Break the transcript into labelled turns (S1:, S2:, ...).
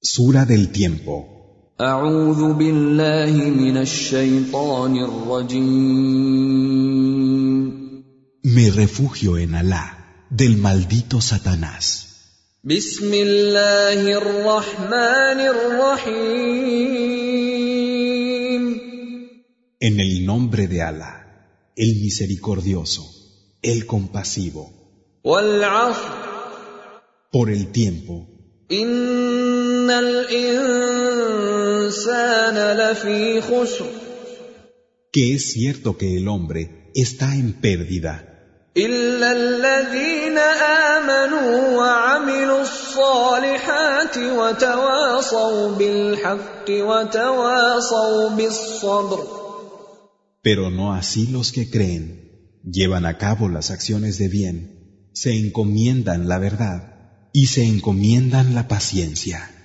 S1: Sura del tiempo.
S2: أعوذ بالله من الشيطان الرجيم
S1: Me refugio en Alá, del maldito Satanás.
S2: بسم الله الرحمن الرحيم
S1: En el nombre de Alá, el misericordioso, el compasivo.
S2: والعصر
S1: Por el tiempo,
S2: إن الإنسان لفي خسر
S1: que es cierto que el hombre está en pérdida,
S2: إلا الذين آمنوا وعملوا الصالحات وتواصوا بالحق وتواصوا بالصبر
S1: pero no así los que creen, llevan a cabo las acciones de bien, se encomiendan la verdad y se encomiendan la paciencia.